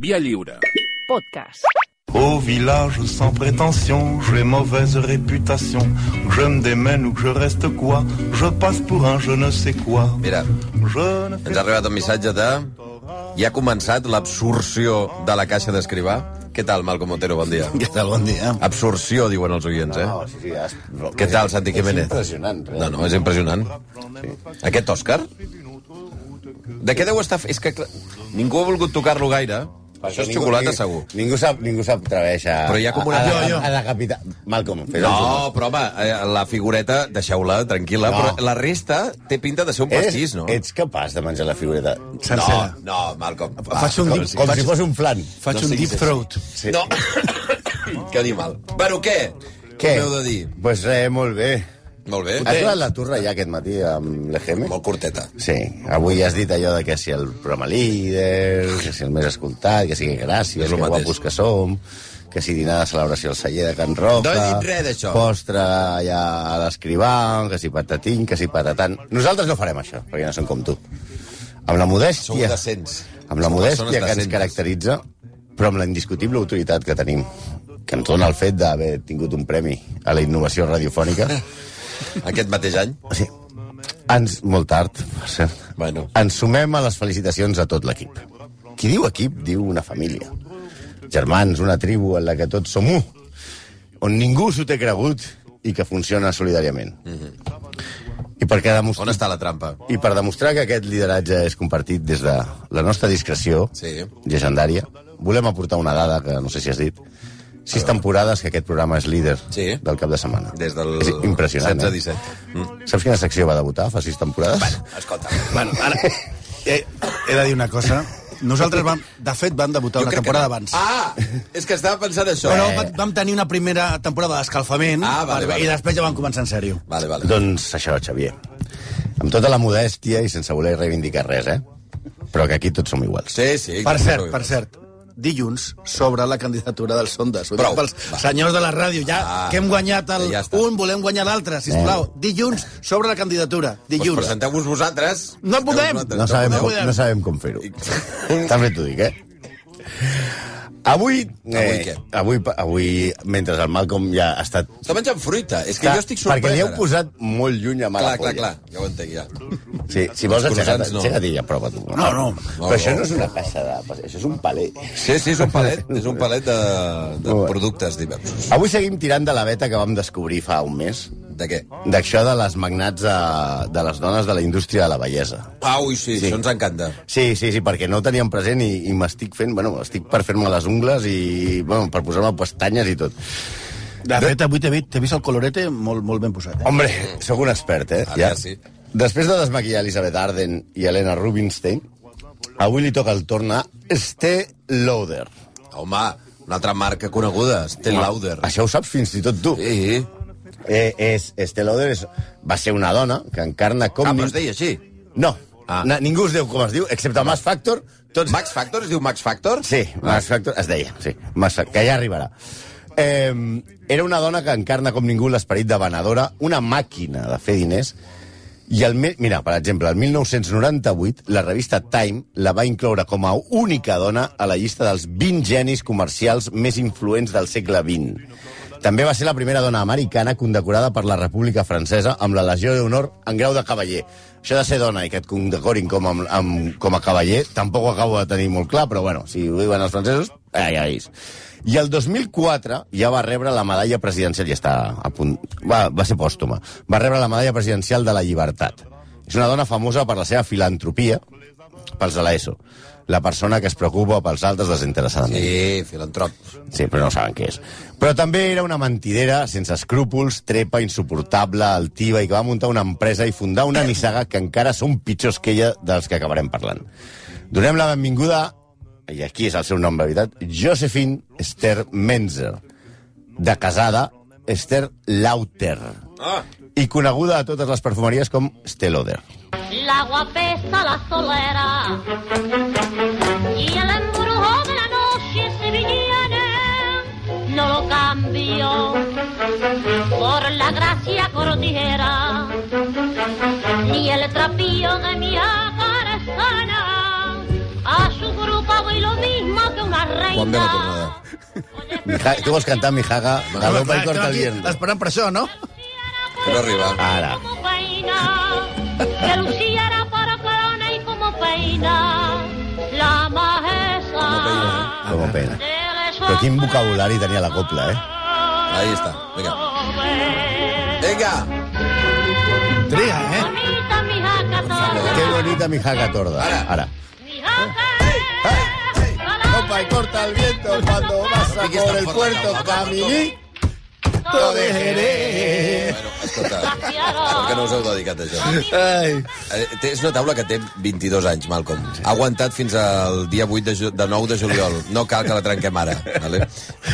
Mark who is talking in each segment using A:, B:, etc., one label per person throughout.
A: Via lliure.
B: Podcast.
C: Au village sans prétention, j'ai mauvaise réputation. Que je me démène ou que je reste quoi, je passe pour un je ne sais quoi.
D: Mira,
C: Je ne fais
D: ens ha arribat un missatge de... Ja ha començat l'absorció de la caixa d'escrivà. Què tal, Malcom Otero? Bon dia.
E: Què tal, bon dia?
D: Absorció, diuen els oients, eh?
E: No, sí, sí, has...
D: Què tal, Santi Jiménez?
E: És impressionant. eh?
D: No, no, és impressionant. Aquest Òscar? De què deu estar... fe- És que clar, ningú ha volgut tocar-lo gaire. Això és xocolata, segur.
E: Ningú sap, ningú sap atreveix a...
D: Però hi ha com una-
E: A, a,
D: Jo,
E: a,
D: jo.
E: a, a decapitar... Malcolm, fes el
D: No, però home, eh, la figureta, deixeu-la tranquil·la,
E: No.
D: però la resta té pinta de ser un
E: Eres-
D: pastís, no?
E: Ets capaç de menjar la figureta?
D: No,
F: Sencera.
D: no, Malcom. va,
F: Faig un
E: Com,
F: deep,
E: com
F: faig,
E: si fos un flan.
F: faig
D: no
F: un
D: siguis
F: deep throat.
E: Sí.
D: No. que animal. Bueno, què?
E: Què?
D: Què heu de dir?
E: Pues res, molt bé.
D: Molt bé.
E: Has jugat la turra ja aquest matí amb l'EGM?
D: Molt curteta.
E: Sí, avui has dit allò de que si el programa líder, que si el més escoltat, que sigui gràcies,
D: És el
E: que
D: mateix.
E: guapos que som, que si dinar de celebració al celler de Can Roca...
D: No he dit res d'això.
E: Postre allà a l'escrivà, que si patatín, que si patatan... Nosaltres no farem això, perquè no som com tu. Amb la
D: Sou
E: modèstia,
D: decents.
E: amb la
D: Sou
E: modèstia
D: persones
E: que ens
D: decents.
E: caracteritza, però amb la indiscutible autoritat que tenim, que ens dona el fet d'haver tingut un premi a la innovació radiofònica.
D: Aquest mateix any?
E: O sigui, ens, molt tard, per cert,
D: Bueno.
E: ens sumem a les felicitacions a tot l'equip. Qui diu equip, diu una família. Germans, una tribu en la que tots som un, on ningú s'ho té cregut i que funciona solidàriament. I perquè demostrar...
D: On està la trampa?
E: I per demostrar que aquest lideratge és compartit des de la nostra discreció
D: Sí.
E: llegendària, volem aportar una dada que no sé si has dit. Sis temporades que aquest programa és líder
D: Sí.
E: del cap de setmana.
D: Des del
E: És impressionant.
D: 16
E: eh?
D: 17.
E: Saps quina secció va debutar fa sis temporades? Bueno.
D: Escolta.
F: Bueno, ara, he, Eh, he de dir una cosa. Nosaltres, vam, de fet, vam debutar una temporada
D: no.
F: abans.
D: Ah! És que estava pensant això. eh?
F: Però vam, vam tenir una primera temporada d'escalfament
D: Ah, vale,
F: per-
D: vale.
F: i després ja vam començar en sèrio.
D: Vale, vale.
E: Doncs això, Xavier. Amb tota la modèstia i sense voler reivindicar res, eh? Però que aquí tots som iguals.
D: Sí, sí.
F: Per cert, per cert, dilluns sobre la candidatura dels sondes. Ho dic
D: Prou.
F: pels
D: Va.
F: senyors de la ràdio, ja
D: Ah.
F: que hem guanyat el
D: Ja està. Eh.
F: un, volem guanyar l'altre, sisplau. Dilluns sobre la candidatura.
D: Pues
F: Dilluns.
D: Doncs presenteu-vos vosaltres.
F: No podem.
D: Vosaltres.
E: No sabem,
F: no
E: com,
F: podem.
E: no sabem com fer-ho. També t'ho dic, eh? Avui,
D: Avui
E: eh,
D: què?
E: avui, pa- avui, mentre el Malcolm ja ha estat...
D: Està menjant fruita. És que jo estic sorprès.
E: perquè li heu
D: ara.
E: posat molt lluny a mala
D: Clar, clar, clar. Ja ho entenc, ja.
E: Sí, si vols,
D: Els
E: aixeca't,
D: croissants no.
E: aixeca't i ja prova tu.
F: No, no.
E: Però això no és una caixa de... Això és un paler.
D: Sí, sí, és un palet, és un palet de, de
E: Molt bé.
D: productes diversos.
E: Avui seguim tirant de la veta que vam descobrir fa un mes,
D: De què?
E: d'això de les magnats de, de les dones de la indústria de la bellesa.
D: Ah, ui, sí,
E: Sí.
D: això ens encanta.
E: Sí, sí, sí, perquè no ho teníem present i, i m'estic fent... Bueno, estic per fer-me les ungles i bueno, per posar-me pestanyes i tot.
F: De fet, avui t'he vist, t'he vist el colorete molt, molt ben posat. Eh?
E: Hombre, sóc un expert, eh?
D: Ara ja sí.
E: Després de desmaquillar Elizabeth Arden i Helena Rubinstein, avui li toca el torn a Estée Lauder.
D: Home, una altra marca coneguda, Estée Lauder.
E: Això ho saps fins i tot tu.
D: Sí.
E: Eh, és, Estée Lauder és, va ser una dona que encarna com...
D: Ah, però es deia així.
E: No,
D: Ah.
E: ah. ningú es diu com es diu, excepte Max Factor, tots
D: Max Factor? Es diu Max Factor?
E: Sí, Max Factor, es deia, sí, Max Factor, que ja arribarà. Eh, era una dona que encarna com ningú l'esperit de venedora, una màquina de fer diners, i el, mi- mira, per exemple, el 1998, la revista Time la va incloure com a única dona a la llista dels 20 genis comercials més influents del segle XX. També va ser la primera dona americana condecorada per la República Francesa amb la Legió d'Honor en grau de cavaller. Això de ser dona i que et condecorin com, a, amb, com a cavaller tampoc ho acabo de tenir molt clar, però bueno, si ho diuen els francesos, ai, ai. I el 2004 ja va rebre la medalla presidencial, ja està a punt... Va, va ser pòstuma. Va rebre la medalla presidencial de la llibertat. És una dona famosa per la seva filantropia pels de l'ESO. La persona que es preocupa pels altres desinteressadament.
D: Sí, filantrop.
E: Sí, però no saben què és. Però també era una mentidera, sense escrúpols, trepa, insuportable, altiva, i que va muntar una empresa i fundar una nissaga que encara són pitjors que ella dels que acabarem parlant. Donem la benvinguda, i aquí és el seu nom, de veritat, Josephine Esther Menzer, de casada Esther Lauter,
D: Ah,
E: i coneguda a totes les perfumeries com Steloder.
G: L'agua pesa la solera y el embrujo de la noche sevillana no lo cambio por la gracia cordillera ni el trapillo de mi acarezana a su grupo voy lo mismo que una reina.
D: Quan ve la tornada?
E: Mijaga, tu vols cantar Mijaga,
D: Ah,
E: galopa i corta el viento.
F: Esperant per això, no?
D: Que no arriba.
E: Ara.
G: Como peina, que Lucía era para corona y como peina, la majestad.
E: Com a pena.
G: Però
E: Però quin vocabulari tenia la copla, eh?
D: Ahí està. Vinga. Vinga.
F: Tria, eh?
G: Bonita mi jaca
E: Que bonita ¿Eh? Mijaga
G: torda,
E: torda.
D: Ara.
E: Ara.
G: mi jaca
E: Copa y corta el viento cuando vas a
D: Aquí está
E: por el
D: Fortaleza,
E: puerto
D: Fortaleza.
E: caminito de Jerez.
D: Bueno, escolta, per què no us heu dedicat a això?
F: Ai.
D: Eh, té- És una taula que té 22 anys, Malcolm. Ha aguantat fins al dia 8 de, ju de 9 de juliol. No cal que la trenquem ara. Vale?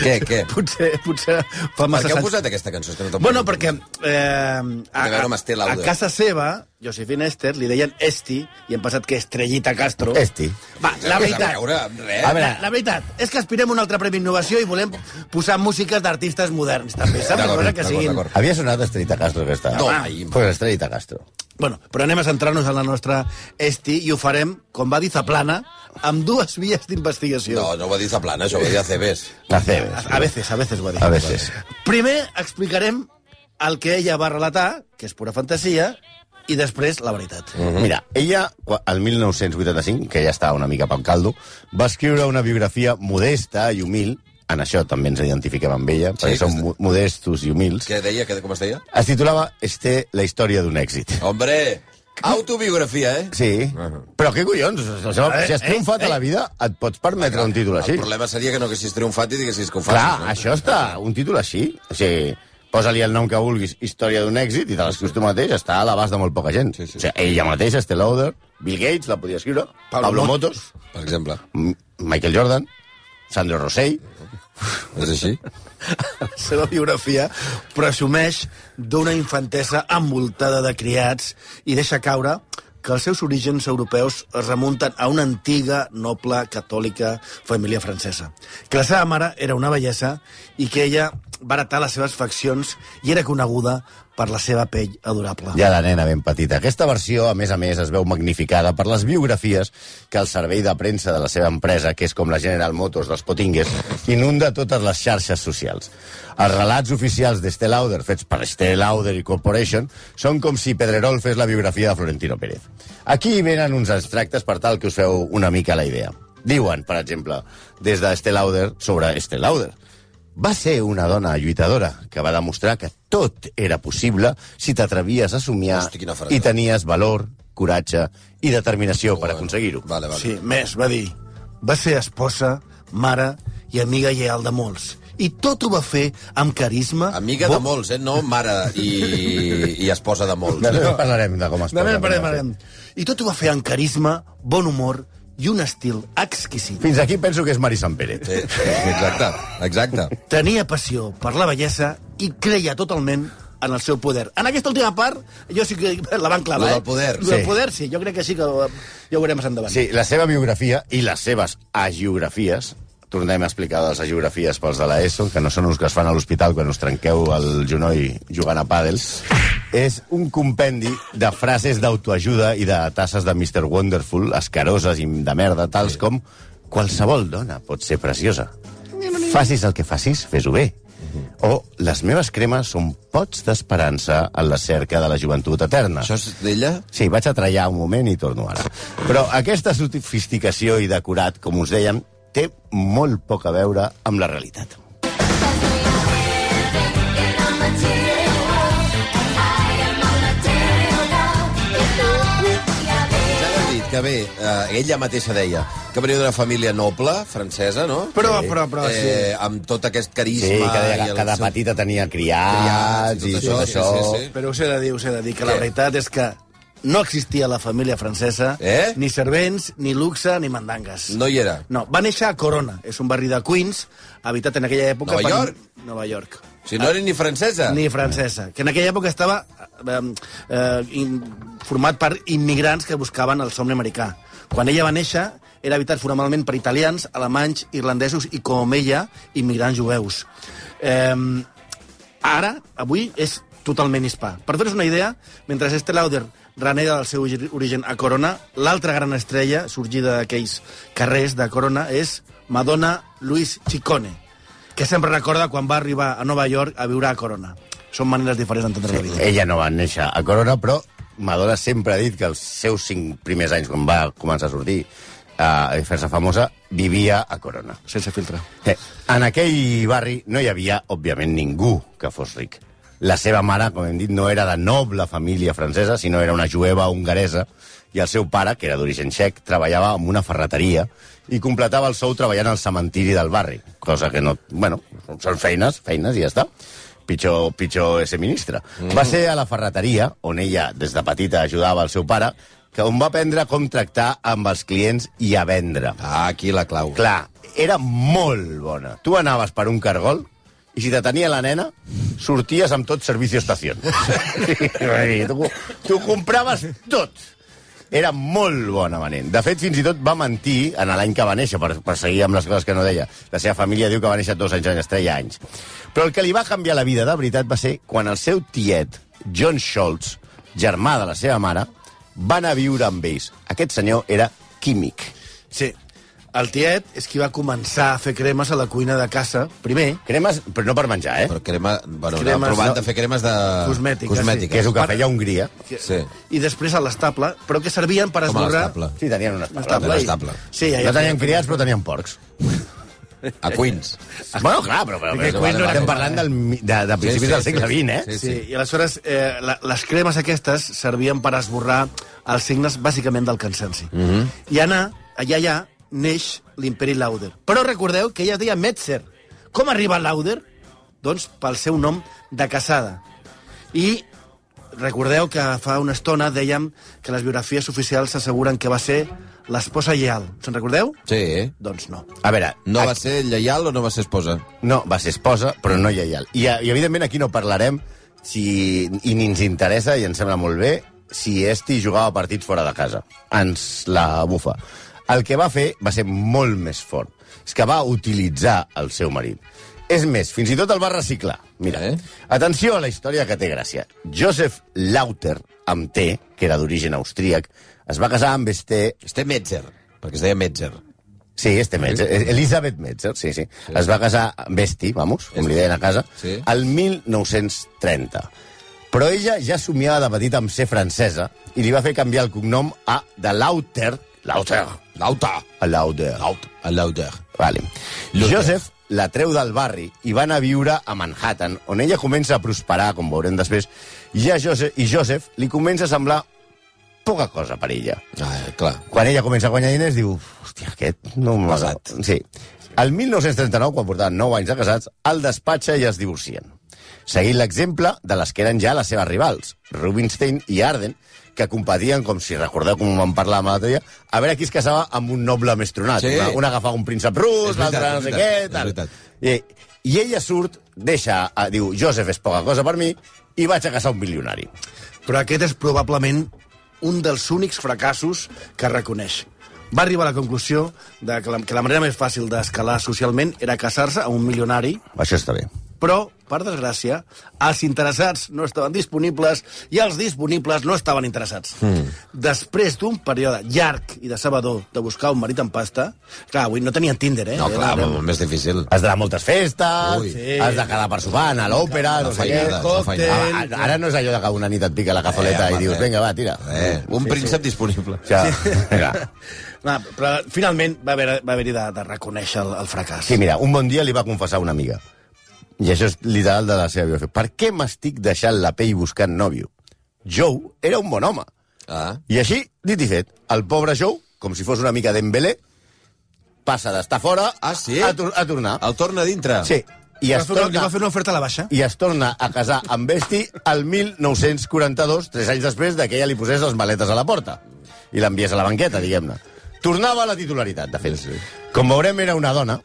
D: Què, què?
F: Potser, potser fa
D: Per
F: massa
D: què heu
F: sens.
D: posat aquesta cançó? És que no te'n
F: Bueno,
D: puc-
F: perquè eh, a,
D: a veure amb Esther
F: a,
D: Lauder.
F: casa seva, Josefina Esther, li deien Esti, i hem passat que Estrellita Castro.
E: Esti.
F: Va, la
D: No té
F: veritat, Eh,
D: A veure, amb res.
E: A
F: la,
E: veure.
F: la veritat és que aspirem a un altre Premi Innovació i volem posar músiques d'artistes moderns, també, saps?
D: D'acord,
F: Cosa que
D: d'acord,
F: siguin...
D: d'acord.
E: Havia sonat Estrellita Castro aquesta.
D: No,
E: Home, pues Estrellita Castro.
F: Bueno, però anem a centrar-nos en la nostra Esti i ho farem, com va dir Zaplana, amb dues vies d'investigació.
D: No, no ho va dir Zaplana, això ho va dir Acebes.
E: La Cebes.
F: A, a veces, a veces ho ha dit.
E: A veces.
F: Primer explicarem el que ella va relatar, que és pura fantasia, i després la veritat.
E: Mira, ella, qua- el 1985, que ja estava una mica pel caldo, va escriure una biografia modesta i humil, en això també ens identifiquem amb ella, perquè som
D: que
E: mo- modestos i humils,
D: Què deia? Què, com es deia?
E: es titulava Este, la història d'un èxit.
D: Hombre, autobiografia, eh?
E: Sí, però què collons? O sigui, Si has
F: Eh, eh,
E: triomfat a
F: eh.
E: la vida, et pots permetre un títol així.
D: El problema seria que no haguessis triomfat i diguessis que ho facis.
E: Clar,
D: no?
E: això està, un títol així. O sigui, posa-li el nom que vulguis, història d'un èxit, i te l'escrius tu mateix, està a l'abast de molt poca gent.
D: Sí, sí.
E: O sigui, ella mateixa, Estelle Lauder, Bill Gates, la podia escriure, Pablo, Pablo
F: Mot-
E: Motos,
D: Per exemple.
E: M- Michael Jordan, Sandro Rossell...
D: És així?
F: La seva biografia presumeix d'una infantesa envoltada de criats i deixa caure que els seus orígens europeus es remunten a una antiga, noble, catòlica família francesa. Que la seva mare era una bellesa i que ella va heretar les seves faccions i era coneguda per la seva pell adorable.
E: Ja la nena ben petita. Aquesta versió, a més a més, es veu magnificada per les biografies que el servei de premsa de la seva empresa, que és com la General Motors dels Potingues, inunda totes les xarxes socials. Els relats oficials d'Estel Lauder, fets per Estel Lauder i Corporation, són com si Pedrerol fes la biografia de Florentino Pérez. Aquí hi venen uns abstractes per tal que us feu una mica la idea. Diuen, per exemple, des d'Estel Lauder sobre Estel Lauder. Va ser una dona lluitadora que va demostrar que tot era possible si t'atrevies a somiar
D: Hosti, quina frase.
E: i tenies valor, coratge i determinació per
D: Bueno,
E: aconseguir-ho.
D: Vale, vale.
F: Sí, més, va dir. Va ser esposa, mare i amiga lleial de molts. I tot ho va fer amb carisma...
D: Amiga de molts, eh? No mare i, i esposa de molts.
E: Després parlarem de com es
F: Demà
E: posa,
F: en
E: com es
F: parlem,
E: fa.
F: parlem. I tot ho va fer amb carisma, bon humor i un estil exquisit.
E: Fins aquí penso que és Mari Sant Pere.
D: Sí, exacte, exacte.
F: Tenia passió per la bellesa i creia totalment en el seu poder. En aquesta última part, jo sí que la van clavar.
D: Lo del
F: eh?
D: poder.
F: Lo del
E: Sí.
F: poder, sí. Jo crec que sí que ho- ja ho veurem més endavant.
E: Sí, la seva biografia i les seves agiografies tornem a explicar les agiografies pels de l'ESO, que no són uns que es fan a l'hospital quan us trenqueu el genoll jugant a pàdels, és un compendi de frases d'autoajuda i de tasses de Mr. Wonderful, escaroses i de merda, tals com qualsevol dona pot ser preciosa. Facis el que facis, fes-ho bé. O les meves cremes són pots d'esperança en la cerca de la joventut eterna.
D: Això és d'ella?
E: Sí, vaig a trallar un moment i torno ara. Però aquesta sofisticació i decorat, com us dèiem, té molt poc a veure amb la realitat.
D: Ja ho he dit, que bé, eh, ella mateixa deia que venia d'una família noble, francesa, no?
F: Però- però- però, sí.
D: Eh, amb tot aquest carisma...
E: Sí, que deia
D: i
E: que
D: el
E: cada
D: seu-
E: petita tenia criats,
D: Criats i
E: i
D: tot
E: tot
D: això,
E: això.
D: sí, sí, sí.
F: Però us he de dir, us he de dir, que la
D: Què?
F: veritat és que no existia la família francesa,
D: Eh?
F: ni servents, ni luxe, ni mandangues.
D: No hi era.
F: No, va néixer a Corona, és un barri de Queens, habitat en aquella època...
D: Nova York? Ah.
F: Nova York.
D: O sigui, no era ni francesa.
F: Ni francesa, que en aquella època estava eh, eh, in, format per immigrants que buscaven el somni americà. Quan ella va néixer, era habitat formalment per italians, alemanys, irlandesos i, com ella, immigrants jueus. Eh, ara, avui, és totalment hispà. Per fer-vos una idea, mentre Esther Lauder renega del seu ori- origen a Corona, l'altra gran estrella sorgida d'aquells carrers de Corona és Madonna Luis Chicone, que sempre recorda quan va arribar a Nova York a viure a Corona. Són maneres diferents d'entendre sí, la vida.
E: Ella no va néixer a Corona, però Madonna sempre ha dit que els seus cinc primers anys, quan va començar a sortir eh, i fer-se famosa, vivia a Corona.
F: Sense filtre.
E: Eh, en aquell barri no hi havia, òbviament, ningú que fos ric. La seva mare, com hem dit, no era de noble família francesa, sinó era una jueva hongaresa, i el seu pare, que era d'origen txec, treballava en una ferreteria i completava el sou treballant al cementiri del barri, cosa que no... Bueno, són feines, feines i ja està. Pitjor, pitjor ese ministre. Mm. Va ser a la ferreteria, on ella des de petita ajudava el seu pare, que on va aprendre com tractar amb els clients i a vendre.
D: Ah, aquí la clau.
E: Clar, era molt bona. Tu anaves per un cargol i si te tenia la nena, sorties amb tot servicio estación. tu, tu compraves tot. Era molt bona venent. De fet, fins i tot va mentir en l'any que va néixer, per, per seguir amb les coses que no deia. La seva família diu que va néixer dos anys en estrella anys. Però el que li va canviar la vida, de veritat, va ser quan el seu tiet, John Schultz, germà de la seva mare, va anar a viure amb ells. Aquest senyor era químic.
F: Sí. El tiet és qui va començar a fer cremes a la cuina de casa, primer,
E: Cremes, però no per menjar, eh?
D: Però crema... Bueno, cremes,
F: Cremes,
D: anava provant
F: no.
D: de fer cremes de...
F: Cosmètiques,
E: Que és
D: Cosmètiques.
E: el que feia a Hongria.
F: que,
D: Sí.
F: i després a l'estable, però que servien per
D: Com a
F: esborrar...
D: l'estable.
E: Sí, tenien un estable.
F: L'estable.
D: Un
F: i-
D: estable.
F: Sí, ja, ja.
E: No tenien criats, però tenien porcs.
D: A Queens.
E: Bueno, clar, però... però,
F: Perquè
E: però
F: Queen no era
E: estem
F: català.
E: parlant del, mi- de, de principis
D: sí,
E: del segle
D: sí, sí.
E: XX, eh?
F: Sí, sí. I aleshores eh, la, les cremes aquestes servien per esborrar els signes bàsicament del cansanci. Mm -hmm. I anar, allà, allà, neix l'imperi Lauder. Però recordeu que ella es deia Metzer. Com arriba Lauder? Doncs pel seu nom de casada. I recordeu que fa una estona dèiem que les biografies oficials asseguren que va ser l'esposa lleial. Se'n recordeu?
D: Sí, eh?
F: Doncs no.
E: A veure,
D: No
E: a-
D: va ser lleial o no va ser esposa?
E: no, va ser esposa, però no lleial. I, I, evidentment, aquí no parlarem si, i ni ens interessa, i ens sembla molt bé, si Esti jugava partits fora de casa. Ens la bufa. El que va fer va ser molt més fort. És que va utilitzar el seu marit. És més, fins i tot el va reciclar. Mira,
D: Eh?
E: eh? atenció a la història que té gràcia. Joseph Lauter, amb T, que era d'origen austríac, es va casar amb Este
D: Este Metzer, perquè es deia Metzer.
E: Sí, este Eh, Metzer, Elizabeth Metzer, sí, sí. Es va casar amb Esti, vamos, com li deien a casa,
D: Sí.
E: el 1930. Però ella ja somiava de petita amb ser francesa i li va fer canviar el cognom a de Lauter, Lauter,
D: Lauta.
E: a Lauter.
D: Lauta. A Lauter.
E: Vale.
D: Lauter.
E: Joseph la treu del barri i va anar a viure a Manhattan, on ella comença a prosperar, com veurem després, i, a Joseph, i Joseph li comença a semblar poca cosa per ella
D: Ah, clar.
E: quan ella comença a guanyar diners, diu, hòstia, aquest no m'ha
D: Pesat.
E: Sí. El 1939, quan portaven 9 anys de casats, el despatxa i es divorcien. Seguint l'exemple de les que eren ja les seves rivals, Rubinstein i Arden, que competien, com si recordeu com vam parlar amb l'altre dia, a veure qui es casava amb un noble més tronat.
D: Sí.
E: Una, una agafava un príncep rus,
D: És veritat,
E: l'altre no
D: és
E: sé què,
D: veritat,
E: tal.
D: és veritat.
E: I, I ella surt, deixa, eh, diu, Joseph és poca cosa per mi, i vaig a casar un milionari.
F: però aquest és probablement un dels únics fracassos que reconeix. Va arribar a la conclusió de que, la, que la manera més fàcil d'escalar socialment era casar-se amb un milionari,
E: Això està bé.
F: però, per desgràcia, els interessats no estaven disponibles i els disponibles no estaven interessats.
E: Hmm.
F: Mm. Després d'un període llarg i decebedor de buscar un marit en pasta... Clar, avui no tenien Tinder, eh?
D: No, clar,
F: Era-
D: molt més difícil.
E: Has d'anar a moltes festes,
D: Ui.
E: sí. has de quedar per sopar, anar a l'òpera... No sé què.
D: feinada, una feinada.
E: Ah, ara- Ara no és allò de que una nit et pica la cazoleta
D: Eh,
E: i dius,
D: eh.
E: vinga, va, tira.
D: Eh, un príncep disponible.
E: O sigui, vinga.
F: Va, però finalment va haver- va haver-hi haver de, de reconèixer el, el fracàs.
E: Sí, mira, un bon dia li va confessar a una amiga. I això és literal de la seva biografia. Per què m'estic deixant la pell buscant nòvio? Joe era un bon home.
D: Ah.
E: I així, dit i fet, el pobre Joe, com si fos una mica d'embelé, passa d'estar fora
D: Ah, sí? Ah.
E: a, tor a tornar.
D: El torna a dintre.
E: Sí, i
F: Li va
E: es tota-
F: fer una- li
E: torna...
F: va fer una oferta a la baixa.
E: i es torna a casar amb Besti el 1942, tres anys després de que ella li posés les maletes a la porta i l'enviés a la banqueta, diguem-ne. Tornava a la titularitat, de fet.
D: Sí, sí.
E: Com veurem, era una dona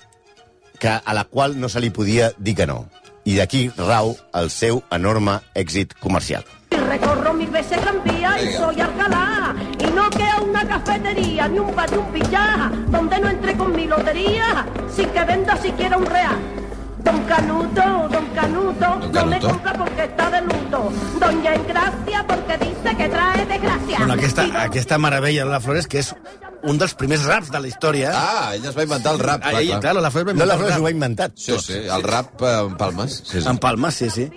E: que, a la qual no se li podia dir que no. I d'aquí rau el seu enorme èxit comercial.
A: Recorro mil veces Tranvía y soy Alcalá Y no queda una cafetería ni un bar ni un billar Donde no entre con mi lotería Sin que venda siquiera un real Don Canuto, don Canuto,
D: Don
A: no me
D: Canuto.
A: compra porque está de luto. Doña Engracia porque dice que trae desgracia.
F: Bueno, aquesta,
A: Y don-
F: aquesta meravella de la Flores, que és un dels primers raps de la història.
D: Ah, ella es va inventar el rap, clar,
F: Ahí,
D: clar.
F: claro, la Flor va
E: No,
F: inventar
E: la
F: el
E: Flor
F: rap.
E: s'ho ha inventat.
D: Sí, sí, el rap eh, en Palmes. Sí, sí.
F: En Palma, sí, sí.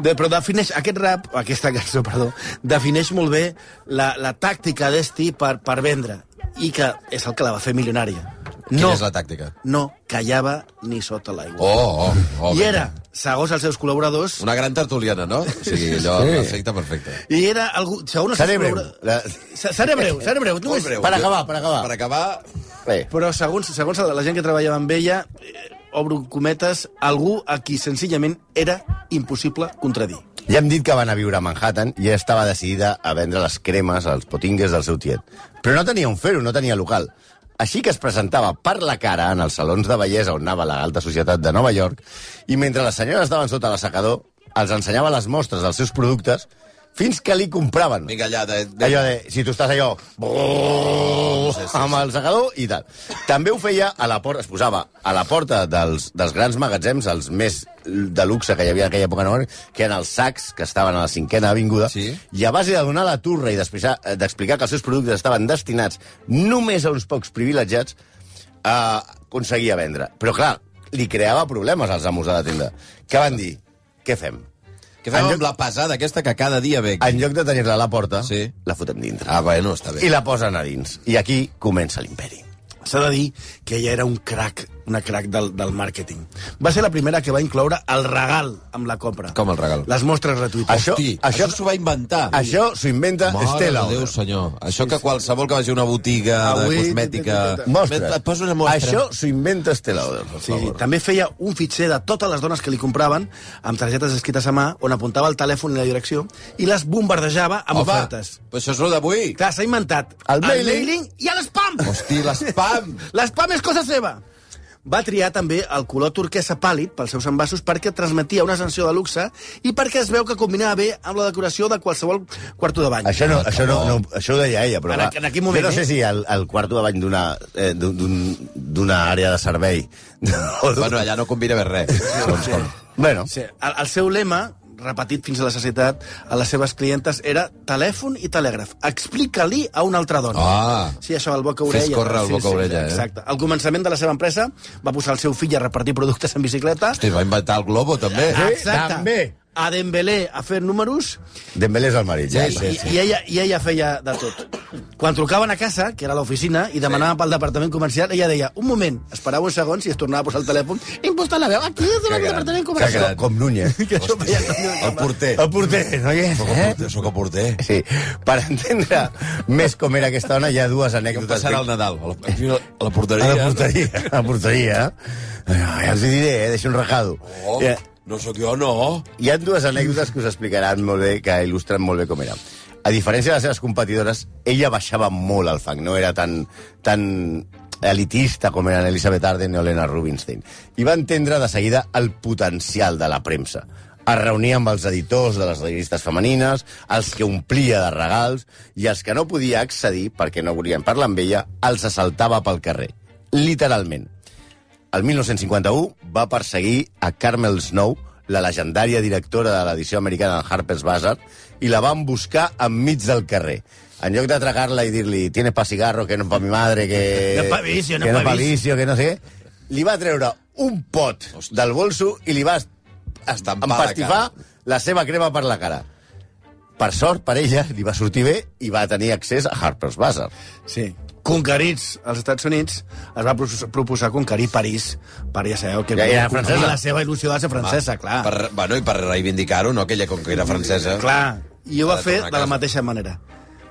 F: De, però defineix aquest rap, o aquesta cançó, perdó, defineix molt bé la, la tàctica d'Esti per, per vendre, i que és el que la va fer milionària.
D: Quina
F: No,
D: és la tàctica?
F: no callava ni sota l'aigua.
D: Oh, oh, oh.
F: I
D: vinga.
F: era, segons els seus col·laboradors,
D: Una gran tertuliana, no? O sigui, allò, sí. perfecte, perfecte.
F: i era algú... Segons els
E: Seré
F: seus
E: breu.
F: col·labora-
E: La...
F: Se- Seré breu, seré breu.
D: Molt
F: Només,
D: breu.
E: Per acabar, per acabar.
D: Per acabar,
E: Bé,
F: Però segons, segons la gent que treballava amb ella, eh, obro cometes, algú a qui senzillament era impossible contradir.
E: ja hem dit que va anar a viure a Manhattan i ja estava decidida a vendre les cremes als potingues del seu tiet. Però no tenia on fer-ho, no tenia local. Així que es presentava per la cara en els salons de bellesa on anava la alta societat de Nova York i mentre les senyores estaven sota l'assecador els ensenyava les mostres dels seus productes fins que li compraven.
D: vinga allà, de, de...
E: Allò de, si tu estàs allò, amb el segador i tal. També ho feia a la porta, es posava a la porta dels, dels grans magatzems, els més de luxe que hi havia en aquella època, no? que eren els sacs que estaven a la cinquena avinguda,
D: Sí.
E: i a base de donar la turra i d'explicar eh, d'explicar que els seus productes estaven destinats només a uns pocs privilegiats, eh, aconseguia vendre. Però, clar, li creava problemes als amos de la tenda, que van dir, què fem?
D: Què fem
E: en lloc-
D: amb la pesada aquesta que cada dia ve?
E: En lloc de tenir-la a la porta,
D: Sí.
E: la fotem dintre
D: Ah, bueno, està bé.
E: i la posen a dins. I aquí comença l'imperi.
F: S'ha de dir que ella era un crac, una crac del, del màrqueting. Va ser la primera que va incloure el regal amb la compra.
D: Com el regal?
F: Les mostres gratuïtes.
E: Això-
D: Hosti,
E: això-
D: això s'ho va inventar.
E: Això s'ho inventa
D: Mare
E: Estela.
D: de Déu,
E: Adler.
D: senyor. Això que qualsevol que vagi a una botiga de
F: Avui-
D: cosmètica...
E: Mostra.
D: Et poso una mostra.
E: Això s'ho inventa Estela. Adler, Per
F: Sí, sí.
E: favor.
F: També feia un fitxer de totes les dones que li compraven amb targetes escrites a mà on apuntava el telèfon i la direcció i les bombardejava amb
D: Home,
F: ofertes.
D: però això és el d'avui.
F: Clar, s'ha inventat
E: El mailing.
F: i l'espam.
D: Hosti, l'espam.
F: L'espam és cosa seva! Va triar també el color turquesa pàl·lid pels seus envasos perquè transmetia una sensació de luxe i perquè es veu que combinava bé amb la decoració de qualsevol quarto de bany.
E: Això, no, això, no, no, això ho deia ella, però...
F: En
E: va,
F: aqu- en aquell moment,
E: jo no
F: eh?
E: sé si el, el quarto de bany d'una eh, d'un- d'un- d'una àrea de servei... o d'un-
D: Bueno, allà no combina bé res. Segons com.
E: bueno,
F: Sí, el, el seu lema, repetit fins a la societat, a les seves clientes, era telèfon i telègraf. Explica-li a una altra dona.
D: Ah.
F: Sí, això, el boca-orella.
D: Fes córrer el
F: Sí, sí,
D: boca-orella, eh?
F: Exacte. Al començament de la seva empresa va posar el seu fill a repartir productes en bicicleta.
D: Hosti, eh? va inventar el globo, també.
F: Exacte.
E: també.
F: A Dembélé a fer números
E: Dembélé és el marit, ja.
D: Sí,
E: Sí,
F: I, i, ella, I ella feia de tot. Quan trucaven a casa, que era l'oficina, i demanaven pel departament comercial, ella deia, un moment, esperava uns segons i es tornava a posar el telèfon. Hem posat la veu aquí, és
D: gran,
F: el departament
D: que
E: Que,
F: comercial.
E: com, com Núñez.
F: Que això feia
D: El porter.
E: El porter, no hi és,
D: Sóc el
E: eh?
D: porter, sóc el porter.
E: Sí. Per entendre més com era aquesta dona, hi ha dues
D: Què em
E: anècdotes.
D: passarà al Nadal? A la, aquí a la- a la
E: A
D: porteria.
E: la porteria, a la porteria. Ah, Ja els hi diré, eh? Deixo un Eh, recado.
D: Oh,
E: Ja,
D: no sóc jo, no.
E: hi ha dues anècdotes que us explicaran molt bé, que il·lustren molt bé com era. A diferència de les seves competidores, ella baixava molt al fang, no era tan, tan elitista com eren Elisabeth Arden o Elena Rubinstein. I va entendre de seguida el potencial de la premsa. Es reunia amb els editors de les revistes femenines, els que omplia de regals, i els que no podia accedir, perquè no volien parlar amb ella, els assaltava pel carrer. Literalment. El 1951 va perseguir a Carmel Snow, la legendària directora de l'edició americana de Harper's Bazaar, i la van buscar enmig del carrer. En lloc d'atracar-la i dir-li «Tienes pa cigarro, que no pa mi madre, que...
F: No pa vicio, no
E: que
F: pa
E: pa
F: vicio".
E: vicio, que no sé què», li va treure un pot del bolso i li va est-
D: Estampar la
E: empastifar la seva crema per la cara. Per sort, per ella, li va sortir bé i va tenir accés a Harper's Bazaar.
F: Sí. Conquerits als Estats Units, es va pro- proposar conquerir París, per ja sabeu que
E: Ja era
F: conquerir
E: francesa.
F: la seva il·lusió de ser francesa, clar. Per...
D: Per, bueno, i per reivindicar-ho, no? Aquella com que era francesa.
F: Clar, i ho
D: Ha
F: va
D: de
F: fer
D: tornar a
F: de la
D: casa.
F: mateixa manera.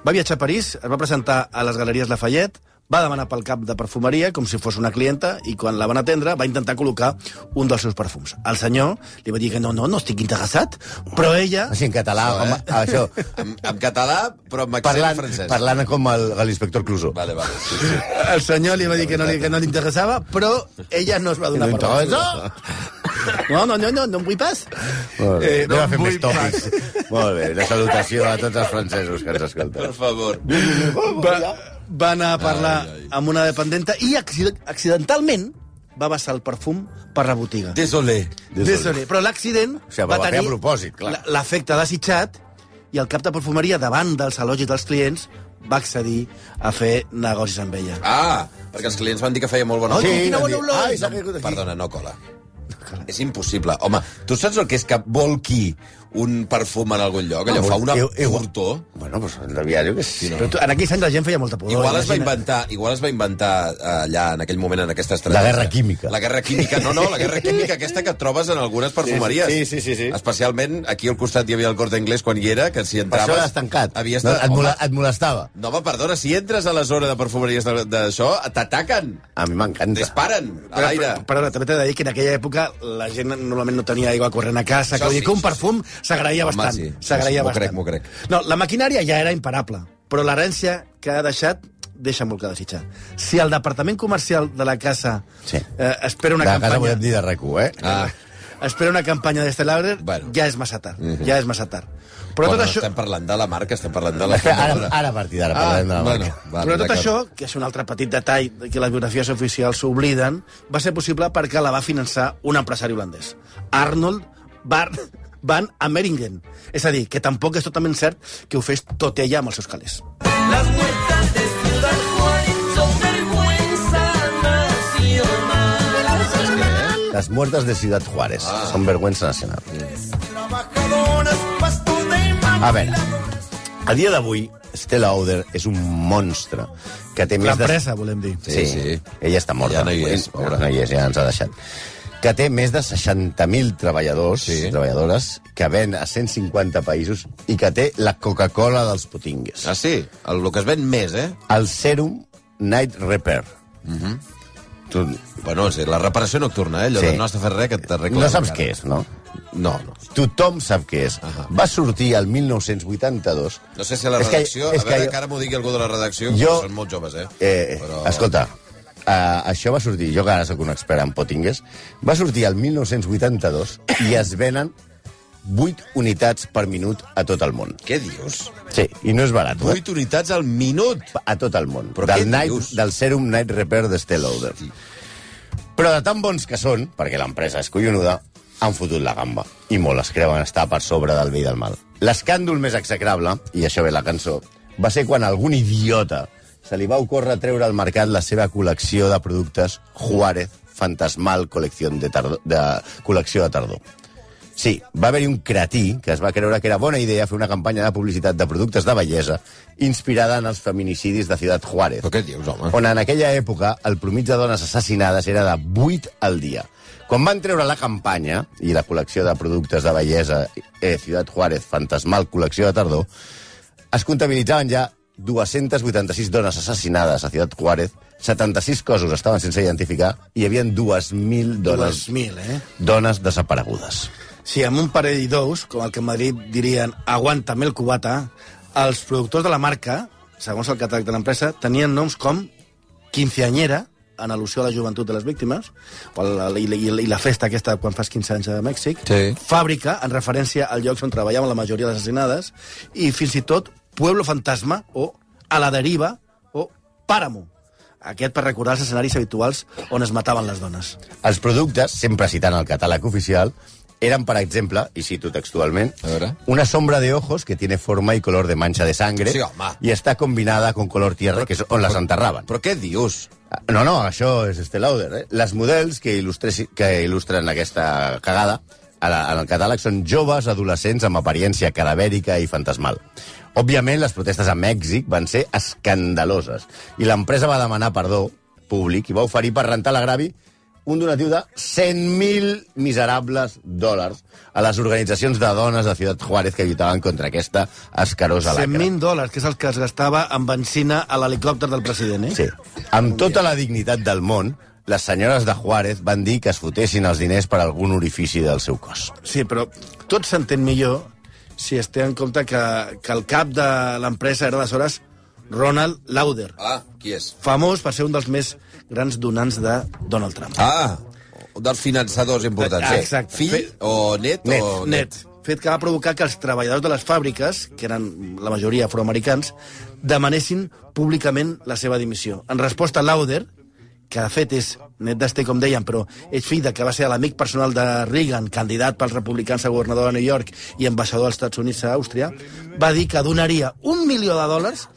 F: Va viatjar a París, es va presentar a les galeries Lafayette, va demanar pel cap de perfumeria com si fos una clienta i quan la van atendre va intentar col·locar un dels seus perfums. El senyor li va dir que no, no, no estic interessat, però ella...
E: Així en català,
D: Això, eh?
E: home, això,
D: En, en català, però amb accent
E: parlant,
D: francès.
E: parlant com el, l'inspector Clouseau.
D: Vale, vale. Sí, sí.
F: El senyor li va dir que no, li- que no li interessava, però ella no es va donar
E: No
F: per
E: interessa.
F: No, no, no, no, no em vull pas.
E: Molt bé,
F: Eh,
E: eh, no
F: doncs
E: fer
F: vull
E: més tòpics. Molt bé, una salutació a tots els francesos que ens
D: Per
E: escolten.
D: favor.
F: Va, va anar a parlar amb una dependenta i accident- accidentalment va vessar el perfum per la botiga.
D: Désolé.
F: Désolé. Però l'accident
E: O sigui, va fer a propòsit, clar.
F: la- l'efecte desitjat i el cap de perfumeria davant dels elogis dels clients va accedir a fer negocis amb ella.
D: Ah, perquè els clients van dir que feia molt bona
F: Ai,
D: olor.
F: quina
E: van
F: bona
E: dir,
F: olor!
E: Ai, s'ha caigut aquí.
D: Perdona, no cola. És impossible. Home, tu saps el que és que volqui un perfum en algun lloc? Allò
E: No,
D: fa una
E: eu- eu-
D: furtor.
E: Bueno, pues devia, jo que sí.
F: Però tu, en aquells anys la gent feia molta pudor.
D: Igual es va
F: imagina't.
D: inventar, igual es va inventar eh, allà, en aquell moment, en aquesta estratègia.
E: La guerra química.
D: La guerra química, no, no, la guerra química aquesta que trobes en algunes perfumeries.
E: sí, sí, sí, sí.
D: Especialment aquí al costat hi havia el Corte Inglés quan hi era, que si
E: Per
D: entraves...
E: això l'has tancat.
D: Havies
E: No,
D: estat...
E: et,
D: No,
E: mola,
D: home,
E: et molestava.
D: no, home, perdona, si entres a la zona de perfumeries de- d'això, t'ataquen,
E: A mi m'encanta.
D: disparen a l'aire.
F: Però, Perdona, també t'he de dir que en aquella època la gent normalment no tenia aigua corrent a casa,
D: Això
F: que vull dir
D: sí,
F: que un
D: això
F: perfum s'agraïa
D: Home,
F: bastant.
D: sí, sí,
F: s'agraïa
D: sí, m'ho
F: bastant.
D: crec, m'ho crec.
F: No, la maquinària ja era imparable, però l'herència que ha deixat deixa molt que desitjar. Si el departament comercial de la casa
E: Sí.
F: eh, espera una
E: de casa
F: campanya...
E: volem dir de rac eh?
D: Ah,
F: Espera una campanya d'Estée Lauder,
D: Bueno. Mhm.
F: ja és massa tard. Ja és massa tard. Però
D: bueno,
F: tot
D: no
F: això...
D: estem parlant de la marca, estem parlant de la...
E: Espera, ara, ara a partir d'ara
D: Ah,
E: parlarem de la
D: bueno,
E: marca.
D: vale,
F: Però tot
D: d'acord.
F: això, que és un altre petit detall de que les biografies oficials s'obliden, va ser possible perquè la va finançar un empresari holandès. Arnold Bar Van Ameringen. És a dir, que tampoc és totalment cert que ho fes tot ella amb els seus calés.
B: Las vueltas de Ciudad Juárez son vergüenza nacional.
E: Les muertes de Ciudad Juárez. Ah. Són vergüenza nacional.
B: Trabajadoras, pasto de
E: A veure, a dia d'avui, Stella Oder és un monstre que té més de...
F: L'empresa, volem dir.
E: Sí,
D: Sí,
E: sí.
D: sí.
E: Ella està morta.
D: Ja no hi és,
E: pobra.
D: pobra.
E: No hi és, ja ens ha deixat. Que té més de 60.000 treballadors, sí.
D: Sí.
E: treballadores, que ven a 150 països i que té la Coca-Cola dels putingues.
D: Ah, sí? El, el que es ven més, eh?
E: El Serum Night Repair.
D: Mhm.
E: Uh -huh.
D: Bueno, sí, la reparació nocturna, eh? Allò
E: Sí.
D: sí. de no has de fer res que
E: Tu
D: t'arregla.
E: no
D: la
E: saps
D: cara.
E: què és, no?
D: No, no.
E: Tothom sap què és.
D: Ahà.
E: Va sortir el 1982.
D: No sé si a la
E: És que-
D: redacció...
E: és
D: a veure,
E: que-
D: que, ara m'ho digui algú de la redacció,
E: Jo-
D: jo... són molt joves, eh?
E: Eh, Però...
D: Però...
E: Escolta, eh, això va sortir, jo que ara sóc un expert en potingues, va sortir el 1982 i es venen 8 unitats per minut a tot el món.
D: Què dius?
E: Sí, i no és barat, eh?
D: Vuit unitats al minut!
E: a tot el món.
D: Però
E: del,
D: què
E: night,
D: dius?
E: del Serum Night Repair de Stella Oder. Però de tan bons que són, perquè l'empresa és collonuda, han fotut la gamba. I molt es creuen estar per sobre del bé i del mal. L'escàndol més execrable, i això ve la cançó, va ser quan algun idiota se li va ocórrer treure al mercat la seva col·lecció de productes Juárez Fantasmal Col·lecció de, tardor, de, col·lecció de Tardor. Sí, va haver-hi un cretí que es va creure que era bona idea fer una campanya de publicitat de productes de bellesa inspirada en els feminicidis de Ciudad Juárez,
D: Però què dius, home?
E: on en aquella època el promig de dones assassinades era de 8 al dia. Quan van treure la campanya i la col·lecció de productes de bellesa eh, Ciudad Juárez, fantasmal col·lecció de tardor, es comptabilitzaven ja 286 dones assassinades a Ciudad Juárez, 76 cossos estaven sense identificar i hi havia 2.000 dones,
F: 2.000, eh?
E: dones desaparegudes.
F: Si amb un parell i dos, com el que a Madrid dirien aguanta'm el cubata, els productors de la marca, segons el catàleg de l'empresa, tenien noms com quinceanyera, en al·lusió a la joventut de les víctimes, o la, i, la, i, la, i la festa aquesta quan fas 15 anys a Mèxic,
D: Sí.
F: fàbrica, en referència al lloc on treballaven la majoria de les assassinades, i fins i tot Pueblo Fantasma, o A la Deriva, o Páramo. Aquest per recordar els escenaris habituals on es mataven les dones.
E: Els productes, sempre citant el catàleg oficial, eren, per exemple, i cito textualment,
D: A veure.
E: una sombra de ojos que tiene forma y color de mancha de sangre
D: Sí, home.
E: y está combinada con color tierra, que es on les enterraven.
D: Però què dius?
E: No, no, això és Estée Lauder. Eh? Les models que, il·lustres- que il·lustren aquesta cagada a la, en el catàleg són joves adolescents amb aparència cadavèrica i fantasmal. Òbviament, les protestes a Mèxic van ser escandaloses i l'empresa va demanar perdó públic i va oferir per rentar l'agravi un donatiu de 100.000 miserables dòlars a les organitzacions de dones de Ciudad Juárez que lluitaven contra aquesta escarosa lacra.
F: 100.000 dòlars, que és el que es gastava en benzina a l'helicòpter del president, eh?
E: Sí. Amb tota la dignitat del món, les senyores de Juárez van dir que es fotessin els diners per algun orifici del seu cos.
F: Sí, però tot s'entén millor si es té en compte que, que el cap de l'empresa era aleshores Ronald Lauder,
D: Ah, qui és?
F: famós per ser un dels més grans donants de Donald Trump.
D: Ah, un dels finançadors importants.
F: Ah,
D: eh?
F: exacte.
D: Fill
F: Fi-
D: o net,
E: Net,
D: o...
F: Net. Fet que va provocar que els treballadors de les fàbriques, que eren la majoria afroamericans, demanessin públicament la seva dimissió. En resposta, Lauder, que de fet és net d'Este, com deien, però és fill de que va ser l'amic personal de Reagan, candidat pels republicans a governador de New York i ambaixador als Estats Units a Àustria, va dir que donaria un milió de dòlars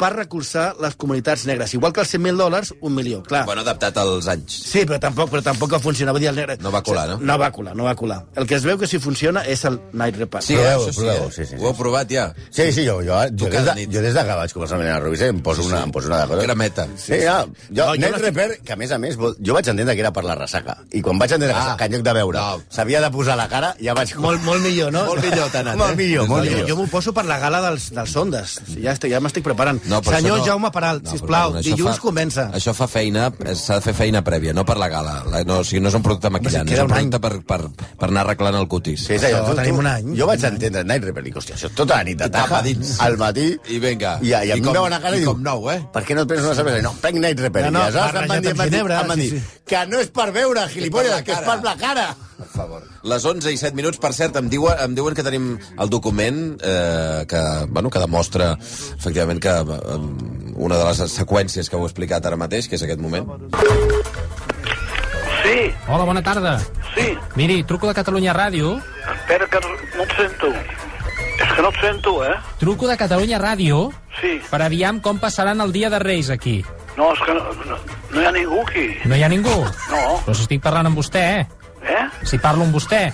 F: per recolzar les comunitats negres. Igual que els 100.000 dòlars, un milió, clar.
D: Bueno, adaptat als anys.
F: Sí, però tampoc, però tampoc va funcionar. Vull dir, el negre...
D: No va colar, no?
F: No va colar, no va colar. El que es veu que si funciona és el Night Repast.
D: Sí,
E: Proveu,
D: això sí,
E: proveu,
D: eh?
E: sí, sí, sí.
D: Ho heu provat, ja.
E: Sí, sí, jo, jo, jo, des,
D: cada
E: de,
D: nit.
E: jo des de que vaig començar a mirar a Rubí, em poso, una, em poso una de coses.
D: Era meta.
E: Sí, ja. Jo,
F: No,
E: no,
F: jo
E: Net
F: l'estic-
E: Repair, que a més a més, vol- jo vaig entendre que era per la ressaca. I quan vaig entendre
D: Ah.
E: que en lloc de veure
D: No.
E: s'havia de posar la cara, ja vaig...
F: Molt, molt millor, no?
D: Molt millor t'ha anat,
E: Molt
D: eh?
E: millor,
F: No,
E: molt
F: jo jo
E: millor.
F: m'ho poso per la gala dels, dels ondes. Ja, estic, ja m'estic preparant.
D: No, però
F: Senyor
D: això no...
F: Jaume Peral,
D: No, però
F: sisplau,
D: perdona, això
F: dilluns
D: fa-
F: comença.
D: Això fa feina, eh, s'ha de fer feina prèvia, no per la gala. La, no, o sigui, no és un producte maquillant, és
F: queda
D: un
F: un any.
D: producte per, per, per anar arreglant el cutis.
E: Sí, és allò,
F: Això
E: tu,
F: tenim
E: tu,
F: un any.
E: Jo vaig entendre Night Repair, dic, hòstia, això és tota la nit de
D: I
E: taja,
D: tapa dins.
E: al matí...
D: I vinga.
E: I, a- i a
D: I
E: mi
D: com-
E: em veuen a cara i,
D: i
E: diu,
D: com nou, eh?
E: Per què no et prens una cervesa? No, prenc Night Repair.
F: No, no,
E: I aleshores em
F: barrejat
E: van dir,
F: amb
E: em van dir,
F: ginebra,
E: em van
F: sí,
E: dir,
F: sí.
E: que no és per beure, gilipolles,
D: la
E: que és
D: cara.
E: per la cara.
D: Les 11 i 7 minuts, per cert, em diuen, em diuen que tenim el document eh, que, bueno, que demostra, efectivament, que eh, una de les seqüències que heu explicat ara mateix, que és aquest moment.
H: Sí,
I: Hola, bona tarda.
H: sí.
I: Miri, truco de Catalunya Ràdio.
H: Espera que no et sento. És que no et sento, eh?
I: Truco de Catalunya Ràdio
H: Sí.
I: per aviam com passaran el dia de Reis aquí.
H: No, és que no, no, no hi ha ningú aquí.
I: No hi ha ningú?
H: No,
I: Però si estic parlant amb vostè, eh?
H: eh?
I: Si parlo amb vostè.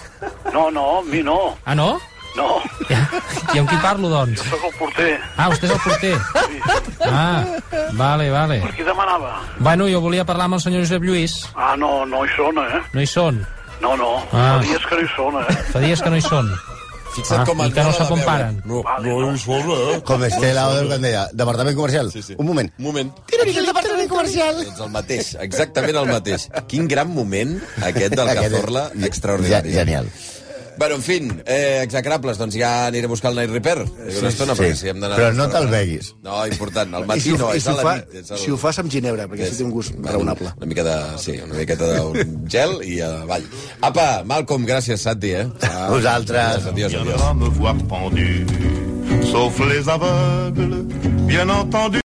H: No, no, a mi no.
I: Ah, no?
H: No,
I: Ja. I amb qui parlo, doncs?
H: sóc el porter.
I: Ah, vostè és el porter. Ah, vale, vale.
H: Qui demanava?
I: Bueno, jo volia parlar amb el senyor Josep Lluís.
H: Ah, no, no hi sona, eh?
I: No hi són.
H: No, no, ah.
I: Ah.
H: dies que no hi sona, eh?
I: Fa dies que no hi són.
D: Fixa't
I: Ah,
D: com
I: i
D: el
I: que no
D: Nadal
I: sap on
D: a veure.
I: paren.
D: eh? No,
H: Vale,
D: no,
H: no.
D: no. Sona, eh?
E: Com Estela Odeu, quan deia, departament comercial.
D: Sí, sí.
E: Un moment.
D: Un moment.
E: Tira-li el departament comercial.
D: Doncs el mateix, exactament el mateix. Quin gran moment, aquest del
E: Aquest és-
D: Cazorla, extraordinari.
E: Ge- Genial.
D: Bueno, en fi, eh, execrables, doncs ja aniré a buscar el Night Repair. Sí, una estona,
E: sí.
D: perquè si hem d'anar...
E: Però no te'l beguis.
D: No, important, al
F: I
D: matí
F: si, ho-
D: no,
F: i
D: és
F: si,
D: a
F: ho
D: la
F: fa,
D: nit. és al-
F: si ho fas amb ginebra, perquè així té un gust raonable.
D: Una mica de, sí, una miqueta d'un gel i avall. Apa, Malcolm, gràcies, Santi, eh? Ah, Adiós,
E: Vosaltres.
D: adiós.
C: viendra me voir pendu, sauf les aveugles, bien entendu.